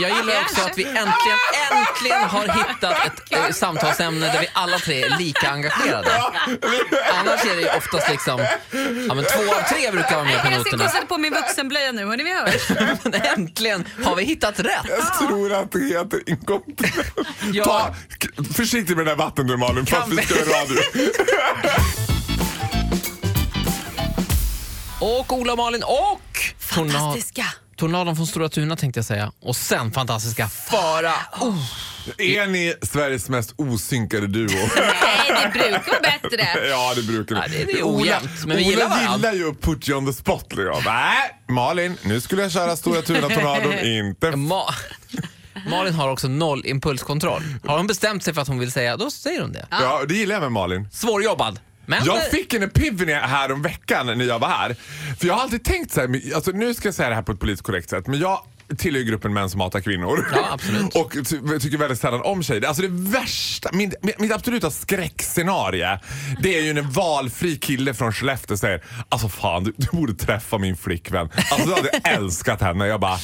[SPEAKER 2] jag gillar också att vi äntligen, äntligen har hittat ett eh, samtalsämne där vi alla tre är lika engagerade. Annars är det ju oftast liksom, ja men två av tre brukar vara med på
[SPEAKER 4] Jag ska
[SPEAKER 2] noterna.
[SPEAKER 4] kossa på min vuxenblöja nu, hörni vi hörs.
[SPEAKER 2] Men äntligen har vi hittat rätt.
[SPEAKER 3] Jag tror att det heter inkontinens.
[SPEAKER 2] Ah. Ja.
[SPEAKER 3] Ta, k- försiktig med den där vatten du Malin, fast vi ska göra radio.
[SPEAKER 2] Och Ola och Malin och torna-
[SPEAKER 4] Fantastiska.
[SPEAKER 2] Tornadon från Stora Tuna tänkte jag säga. Och sen fantastiska Fara. Oh,
[SPEAKER 3] Är ni Sveriges mest osynkade duo?
[SPEAKER 4] Nej det brukar vara bättre.
[SPEAKER 3] Ja, det brukar ni.
[SPEAKER 2] Ja, det- det är
[SPEAKER 3] Ola-
[SPEAKER 2] ojämnt, men vi
[SPEAKER 3] Ola
[SPEAKER 2] gillar varandra.
[SPEAKER 3] gillar ju att put you on the spot. Liksom. Nej, Malin, nu skulle jag köra Stora Tuna Tornadon. Inte f-
[SPEAKER 2] Ma- Malin har också noll impulskontroll. Har hon bestämt sig för att hon vill säga, då säger hon det.
[SPEAKER 3] Ja, det gillar jag med Malin.
[SPEAKER 2] Svårjobbad. Men
[SPEAKER 3] Jag fick en epiphany här om veckan när jag var här. För jag har alltid tänkt så här, men- alltså, nu ska jag säga det här på ett politiskt korrekt sätt, men jag tillhör ju gruppen män som hatar kvinnor.
[SPEAKER 2] Ja, absolut.
[SPEAKER 3] Och ty- tycker väldigt sällan om tjejer. Alltså det värsta, min, min- mitt absoluta skräckscenarie, det är ju när en valfri kille från Skellefteå säger Alltså fan, du, du borde träffa min flickvän. Alltså jag hade älskat henne. Jag bara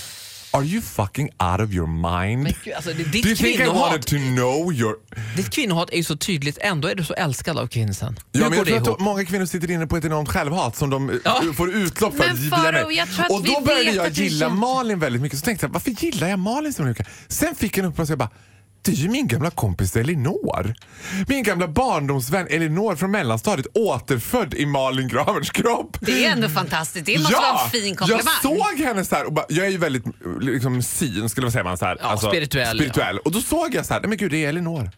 [SPEAKER 3] Are you fucking out of your mind?
[SPEAKER 2] gud, alltså, det-
[SPEAKER 3] Do
[SPEAKER 2] ditt
[SPEAKER 3] you think I
[SPEAKER 2] kvinnohat-
[SPEAKER 3] wanted to know your...
[SPEAKER 2] Ditt kvinnohat är ju så tydligt, ändå är du så älskad av kvinnsen.
[SPEAKER 3] Ja,
[SPEAKER 2] Hur går
[SPEAKER 3] men jag
[SPEAKER 2] det
[SPEAKER 3] tror
[SPEAKER 2] ihop?
[SPEAKER 3] att många kvinnor sitter inne på ett enormt självhat som de eh,
[SPEAKER 2] Ja.
[SPEAKER 3] får utlopp för
[SPEAKER 4] Men
[SPEAKER 3] via
[SPEAKER 4] Faro,
[SPEAKER 3] mig.
[SPEAKER 4] jag tror att
[SPEAKER 3] Och då
[SPEAKER 4] vi
[SPEAKER 3] började
[SPEAKER 4] vet
[SPEAKER 3] jag
[SPEAKER 4] att du
[SPEAKER 3] gilla
[SPEAKER 4] känner-
[SPEAKER 3] Malin väldigt mycket. Så tänkte jag, varför gillar jag Malin så mycket? Sen fick jag en upplevelse, jag bara, det är ju min gamla kompis Elinor. Min gamla barndomsvän Elinor från mellanstadiet, återfödd i Malin Gravers kropp.
[SPEAKER 4] Det är ändå fantastiskt. Det måste vara en fin komplimang.
[SPEAKER 3] jag såg henne så här och bara, jag är ju väldigt liksom, syn, skulle man säga. Man, så här, alltså,
[SPEAKER 2] Ja, spirituell,
[SPEAKER 3] spirituell. Och då såg jag så här, nej men gud det är Elinor.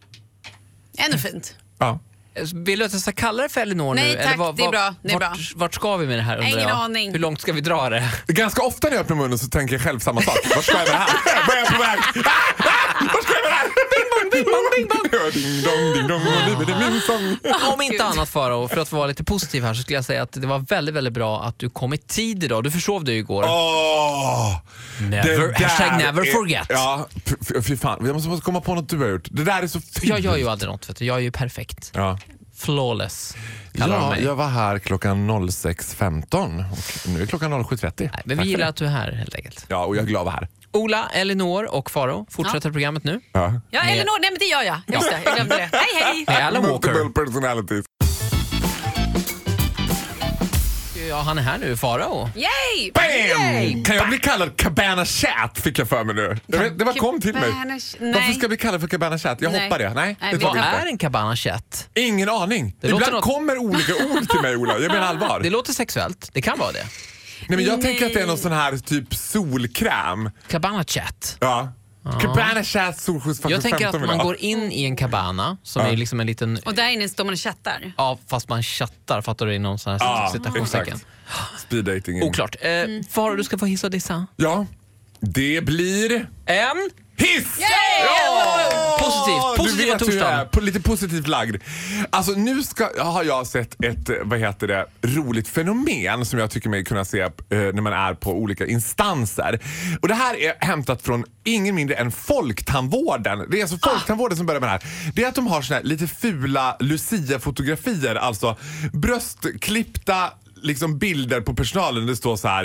[SPEAKER 4] Ändå fint.
[SPEAKER 3] Ja.
[SPEAKER 2] Eh, Vill du att jag ska kalla det för Elinor
[SPEAKER 4] Nej,
[SPEAKER 2] nu?
[SPEAKER 4] tack, det är bra, det är
[SPEAKER 2] vart,
[SPEAKER 4] bra.
[SPEAKER 2] vart ska vi med det här undrar
[SPEAKER 4] Ingen
[SPEAKER 2] jag?
[SPEAKER 4] aning.
[SPEAKER 2] Hur långt ska vi dra det?
[SPEAKER 3] Ganska ofta när jag öppnar munnen så tänker jag själv samma sak. Vart ska jag med det här? Var är jag på väg? Ah! Ah! Vart ska jag med det här? Bing bong, bing bong, bing bong. Ja, ding dong, ding dong, och det är min sång.
[SPEAKER 2] Om inte
[SPEAKER 4] Gud.
[SPEAKER 2] annat Farao, för att vara lite positiv här så skulle jag säga att det var väldigt, väldigt bra att du kom i tid idag. Du försov dig ju igår.
[SPEAKER 3] Åh!
[SPEAKER 2] Never-
[SPEAKER 3] Det där
[SPEAKER 2] hashtag never
[SPEAKER 3] är-
[SPEAKER 2] forget.
[SPEAKER 3] Ja, f- f- fy fan. Jag måste måste komma på något du har gjort. Det där är så fint.
[SPEAKER 2] Jag gör ju aldrig något, vet du. jag är ju perfekt.
[SPEAKER 3] Ja.
[SPEAKER 2] Flawless kallar de
[SPEAKER 3] Ja,
[SPEAKER 2] mig.
[SPEAKER 3] jag var här klockan 06.15 och nu är klockan 07.30.
[SPEAKER 2] Nej, Men
[SPEAKER 3] Tack
[SPEAKER 2] vi
[SPEAKER 3] för
[SPEAKER 2] gillar
[SPEAKER 3] det.
[SPEAKER 2] att du är här helt enkelt.
[SPEAKER 3] Ja, och jag är glad att vara här.
[SPEAKER 2] Ola, Elinor och Faro fortsätter programmet nu.
[SPEAKER 3] Ja.
[SPEAKER 4] Ja, Elinor, nej men det gör jag. Just det, jag glömde det. Hej hej!
[SPEAKER 2] Med Alan Walker.
[SPEAKER 3] Multiple personalities.
[SPEAKER 2] Ja, han är här nu, Farao.
[SPEAKER 4] Yay!
[SPEAKER 3] Bam! Kan jag bli kallad Cabana Chat fick jag för mig nu. Det, var- det var kom till mig.
[SPEAKER 4] Cabana Ch- nej.
[SPEAKER 3] Varför ska jag bli kallad för Cabana Chat? Jag
[SPEAKER 4] Nej.
[SPEAKER 3] hoppar det. Nej,
[SPEAKER 4] Nej,
[SPEAKER 3] det
[SPEAKER 4] vi
[SPEAKER 3] tror
[SPEAKER 2] Vad
[SPEAKER 3] jag
[SPEAKER 4] tappar.
[SPEAKER 2] är
[SPEAKER 3] inte.
[SPEAKER 2] en cabana chat?
[SPEAKER 3] Ingen aning. Ibland
[SPEAKER 2] låter något-
[SPEAKER 3] kommer olika ord till mig Ola. Jag menar allvar.
[SPEAKER 2] Det låter sexuellt, det kan vara det.
[SPEAKER 3] Nej, men jag
[SPEAKER 4] Nej.
[SPEAKER 3] tänker att det är någon sån här typ solkräm.
[SPEAKER 2] Cabana chat.
[SPEAKER 3] Ja. Cabana Chat solskjuts
[SPEAKER 2] Jag
[SPEAKER 3] faktiskt
[SPEAKER 2] tänker
[SPEAKER 3] 15
[SPEAKER 2] att
[SPEAKER 3] vill jag.
[SPEAKER 2] man går in i en cabana som är liksom en liten...
[SPEAKER 4] Och där inne står man och chattar.
[SPEAKER 2] Ja, fast man chattar, fattar du? I någon sån här
[SPEAKER 3] Ja,
[SPEAKER 2] citationstecken.
[SPEAKER 3] exakt. Speed dating.
[SPEAKER 2] Oklart. Eh, Farao, du ska få hissa och dissa.
[SPEAKER 3] Ja. Det blir
[SPEAKER 2] En.
[SPEAKER 3] hiss!
[SPEAKER 2] Ja! Positivt.
[SPEAKER 3] du
[SPEAKER 2] Positiva
[SPEAKER 3] vet hur jag är.
[SPEAKER 2] torsdagen.
[SPEAKER 3] På lite positivt lagd. Alltså nu ska, har jag sett ett eh, vad heter det, roligt fenomen som jag tycker mig kunna se eh, när man är på olika instanser. Och Det här är hämtat från ingen mindre än Folktandvården. Det är
[SPEAKER 2] Ah!
[SPEAKER 3] alltså Folktandvården som börjar med det här. Det är att de har såna här lite fula Lucia-fotografier, alltså bröstklippta liksom bilder på personalen. Det står så här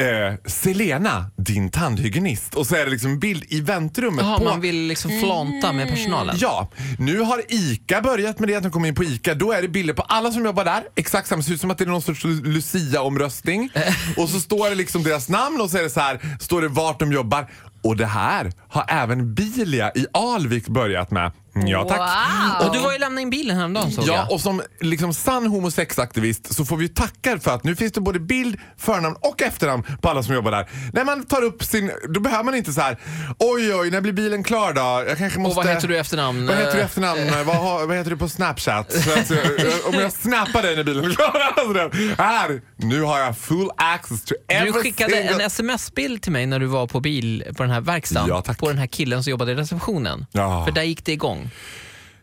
[SPEAKER 3] eh, Selena, din tandhygienist. Och så är det liksom en bild i väntrummet
[SPEAKER 2] Jaha,
[SPEAKER 3] på
[SPEAKER 2] man vill liksom flanta med personalen.
[SPEAKER 3] Ja, nu har ICA börjat med det att de kommer in på ICA. Då är det bilder på alla som jobbar där. Exakt samma, ser ut som att det är någon sorts Lu- Lucia-omröstning. och så står det liksom deras namn och så är det så här, står det vart de jobbar. Och det här har även Bilia i Alvik börjat med. Ja tack. Mm.
[SPEAKER 2] Och du var ju lämna in bilen häromdagen såg
[SPEAKER 3] Ja,
[SPEAKER 2] jag.
[SPEAKER 3] och som liksom sann homosexaktivist så får vi ju tacka för att nu finns det både bild, förnamn och efternamn på alla som jobbar där. När man tar upp sin, då behöver man inte så här, oj oj, när blir bilen klar då? Jag kanske måste...
[SPEAKER 2] vad heter du i efternamn? Eh.
[SPEAKER 3] Vad heter du i efternamn? vad, har, vad heter du på Snapchat? Så att, eh, om jag snappar dig när bilen är klar. alltså det- Här, nu har jag full access to every
[SPEAKER 2] Du skickade
[SPEAKER 3] single...
[SPEAKER 2] en sms-bild till mig när du var på bil på den här verkstaden.
[SPEAKER 3] Ja, tack.
[SPEAKER 2] på den här killen som jobbade i receptionen.
[SPEAKER 3] Ja.
[SPEAKER 2] För där gick det igång.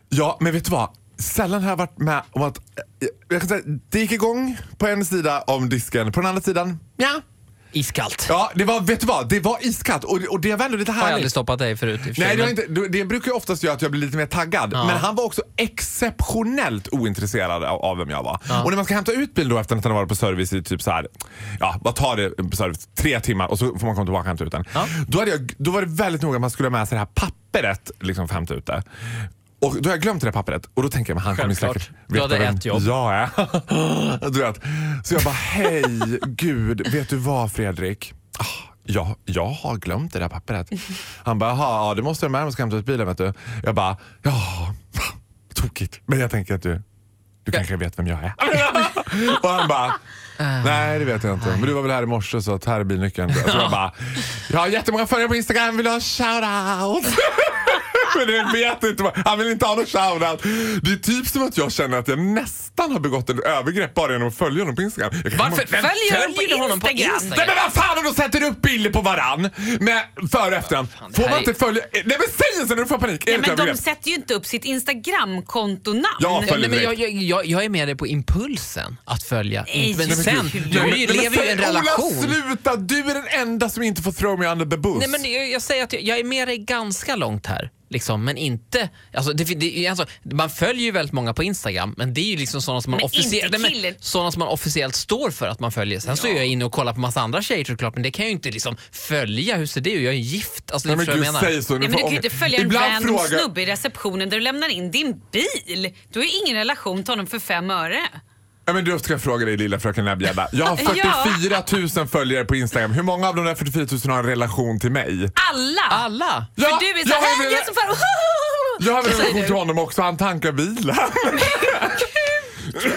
[SPEAKER 3] Ja, men vet du vad? Sällan har jag varit med om att... Jag kan säga, det gick igång på en sida om disken, på den andra sidan, ja.
[SPEAKER 2] Iskallt.
[SPEAKER 3] Ja, det var, vet du vad? Det var iskallt och, och det var ändå lite
[SPEAKER 2] Har jag aldrig
[SPEAKER 3] härligt.
[SPEAKER 2] stoppat dig förut i och för sig,
[SPEAKER 3] Nej, det, var
[SPEAKER 2] men-
[SPEAKER 3] inte, det- det brukar ju oftast göra att jag blir lite mer taggad.
[SPEAKER 2] Ja.
[SPEAKER 3] Men han var också exceptionellt ointresserad av, av vem jag var. Och när man ska hämta ut bil då efter att han har varit på service i typ så här, ja vad tar det på service? Tre timmar och så får man komma tillbaka och hämta ut den.
[SPEAKER 2] Ja.
[SPEAKER 3] Då, hade jag, då var det väldigt noga att man skulle ha med sig det här papperet liksom, för att hämta ut det. Och då har jag glömt det där papperet och då tänker jag men han kommer ju
[SPEAKER 2] Självklart.
[SPEAKER 3] säkert
[SPEAKER 2] Du
[SPEAKER 3] veta
[SPEAKER 2] hade
[SPEAKER 3] vem
[SPEAKER 2] ett jobb.
[SPEAKER 3] Jag är. du vet. Så jag bara, hej gud, vet du vad Fredrik? Ah, Ja, jag har glömt det där papperet. Han bara, jaha, ja, det måste jag med om jag ska hämta ut bilen. Vet du. Jag bara, ja, tokigt. Men jag tänker att du, du kanske vet vem jag är. Och han bara, nej det vet jag
[SPEAKER 2] Ah,
[SPEAKER 3] inte. Men du var väl här i morse så att här är bilnyckeln. Så jag bara, jag har jättemånga följare på Instagram, vill du ha en shoutout? Men det vet inte. vad- Han vill inte ha någon shoutout. Det är typ som att jag känner att jag nästan har begått ett övergrepp bara genom att följa honom på Instagram. Jag kan-
[SPEAKER 2] Varför vem
[SPEAKER 4] Följer du på
[SPEAKER 2] honom på
[SPEAKER 4] Instagram?
[SPEAKER 2] Instagram?
[SPEAKER 3] Nej men vad fan om de sätter upp bilder på varann med före och efternamn?
[SPEAKER 2] det
[SPEAKER 3] Får
[SPEAKER 2] här
[SPEAKER 3] man
[SPEAKER 2] är-
[SPEAKER 3] inte följa? Nej men säg inte när du får panik. Är
[SPEAKER 4] Ja,
[SPEAKER 3] det
[SPEAKER 4] men
[SPEAKER 3] ett
[SPEAKER 4] de
[SPEAKER 3] övergrepp?
[SPEAKER 4] sätter ju inte upp sitt Instagramkontonamn.
[SPEAKER 3] Ja, följ-
[SPEAKER 2] Nej, men jag, jag, jag, jag är med dig på impulsen att följa.
[SPEAKER 4] Nej,
[SPEAKER 2] men
[SPEAKER 4] men
[SPEAKER 2] sen,
[SPEAKER 4] gud.
[SPEAKER 2] du
[SPEAKER 3] Nej,
[SPEAKER 2] är
[SPEAKER 3] men-
[SPEAKER 2] ju-
[SPEAKER 3] men
[SPEAKER 2] lever ju i en
[SPEAKER 3] säg,
[SPEAKER 2] relation.
[SPEAKER 3] Ola sluta! Du är den enda som inte får throw me under the bus.
[SPEAKER 2] Nej, men jag, jag säger att jag, jag är med dig ganska långt här. Liksom, men inte... Alltså, det, fin- det, är- alltså, man följer ju väldigt måga på Instagram, men det är ju liksom sådana som man,
[SPEAKER 4] Men
[SPEAKER 2] officie-
[SPEAKER 4] inte
[SPEAKER 2] nej, men,
[SPEAKER 4] killen.
[SPEAKER 2] sådana som man officiellt står för att man följer. Sen så är jag inne och kollar på massa andra tjejer såklart, men det kan jag ju inte liksom följa. Hur ser det ut? Jag är gift. Alltså, det
[SPEAKER 3] Nej,
[SPEAKER 2] är
[SPEAKER 3] men
[SPEAKER 2] jag
[SPEAKER 3] gud,
[SPEAKER 2] menar.
[SPEAKER 3] säg så. Nu
[SPEAKER 4] Nej,
[SPEAKER 3] får
[SPEAKER 4] men du kan ju
[SPEAKER 3] ångest.
[SPEAKER 4] inte följa en
[SPEAKER 3] Ibland
[SPEAKER 4] random
[SPEAKER 3] frågar-
[SPEAKER 4] snubbe i receptionen där du lämnar in din bil. Du har ju ingen relation till honom för fem öre.
[SPEAKER 3] Ja, men då ska jag fråga dig lilla fröken Näbbgädda. Jag har 44 000 följare på Instagram. Hur många av de där 44 000 har en relation till mig?
[SPEAKER 4] Alla!
[SPEAKER 2] Alla!
[SPEAKER 3] Ja,
[SPEAKER 4] för du är
[SPEAKER 3] jag har
[SPEAKER 4] såhär,
[SPEAKER 3] en
[SPEAKER 4] jag,
[SPEAKER 3] rela-
[SPEAKER 4] jag som fan...
[SPEAKER 3] Jag har väl en
[SPEAKER 2] Säg
[SPEAKER 3] relation
[SPEAKER 2] du.
[SPEAKER 3] till honom också. Han tankar bilen.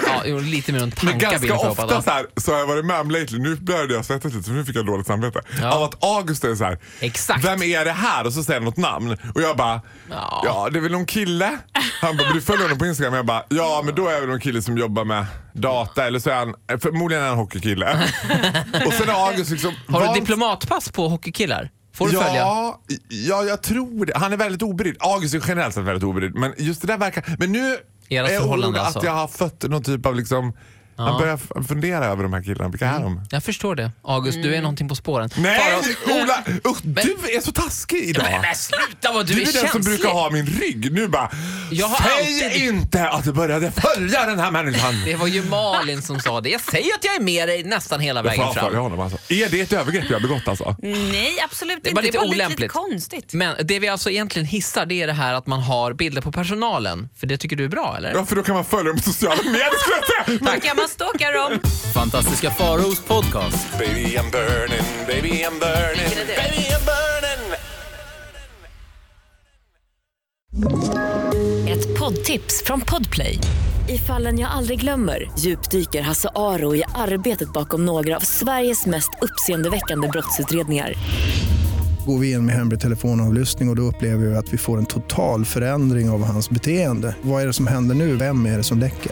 [SPEAKER 2] Ja, jo, lite mer en
[SPEAKER 3] Men
[SPEAKER 2] tanka vill
[SPEAKER 3] ganska
[SPEAKER 2] jag få
[SPEAKER 3] ofta
[SPEAKER 2] hoppas.
[SPEAKER 3] så, här, så har jag varit med om lately, nu började jag svettas lite så nu fick jag dåligt samvete.
[SPEAKER 2] Ja.
[SPEAKER 3] Av att August är så här,
[SPEAKER 2] Exakt.
[SPEAKER 3] vem är det här? Och så säger han något namn och jag bara,
[SPEAKER 2] Ja.
[SPEAKER 3] ja, det är väl någon kille. Han bara, men du följer honom på Instagram? Jag bara, ja men då är jag väl någon kille som jobbar med data eller så är han, förmodligen är han hockeykille. och sen har August liksom
[SPEAKER 2] Har
[SPEAKER 3] vant-
[SPEAKER 2] du diplomatpass på hockeykillar? Får du följa?
[SPEAKER 3] Ja, ja, jag tror det. Han är väldigt obrydd. August är generellt sett väldigt obrydd. Men just det där verkar... Men nu
[SPEAKER 2] Era
[SPEAKER 3] är jag
[SPEAKER 2] förhållande
[SPEAKER 3] orolig
[SPEAKER 2] alltså.
[SPEAKER 3] att jag har fött någon typ av liksom... Han börjar f- fundera över de här killarna. Vilka är de?
[SPEAKER 2] Jag förstår det. August, du är någonting på spåren.
[SPEAKER 3] Nej,
[SPEAKER 2] Farao-
[SPEAKER 3] Ola! Usch, du är så taskig idag.
[SPEAKER 2] Men, men sluta vad du,
[SPEAKER 3] du
[SPEAKER 2] är,
[SPEAKER 3] är den som
[SPEAKER 2] känslig!
[SPEAKER 3] brukar ha min rygg. Nu bara,
[SPEAKER 2] Jag har
[SPEAKER 3] säg
[SPEAKER 2] alltid-
[SPEAKER 3] inte att du började följa den här människan.
[SPEAKER 2] Det var ju Malin som sa det. Jag säger att jag är med dig nästan hela
[SPEAKER 3] Jag får
[SPEAKER 2] vägen
[SPEAKER 3] avfölja
[SPEAKER 2] fram.
[SPEAKER 3] honom alltså. Är det ett övergrepp jag har begått alltså?
[SPEAKER 4] Nej, absolut
[SPEAKER 2] Det är
[SPEAKER 4] inte.
[SPEAKER 2] bara
[SPEAKER 4] Det
[SPEAKER 2] lite
[SPEAKER 4] var lite, lite
[SPEAKER 2] olämpligt.
[SPEAKER 4] konstigt.
[SPEAKER 2] Men det vi alltså egentligen hissar det är det här att man har bilder på personalen. För det tycker du är bra eller?
[SPEAKER 3] Ja, för då kan man följa dem på sociala medier skulle jag säga.
[SPEAKER 4] Då kan man stalka dem.
[SPEAKER 5] Fantastiska Faros podcast.
[SPEAKER 3] Baby I'm burning, baby I'm burning,
[SPEAKER 4] Vilken är det?
[SPEAKER 3] baby I'm burning.
[SPEAKER 1] Ett poddtips från Podplay. I fallen jag aldrig glömmer djupdyker Hasse Aro i arbetet bakom några av Sveriges mest uppseendeväckande brottsutredningar.
[SPEAKER 6] går vi in med hemlig telefonavlyssning och, och då upplever vi att vi får en total förändring av hans beteende. Vad är det som händer nu? Vem är det som läcker?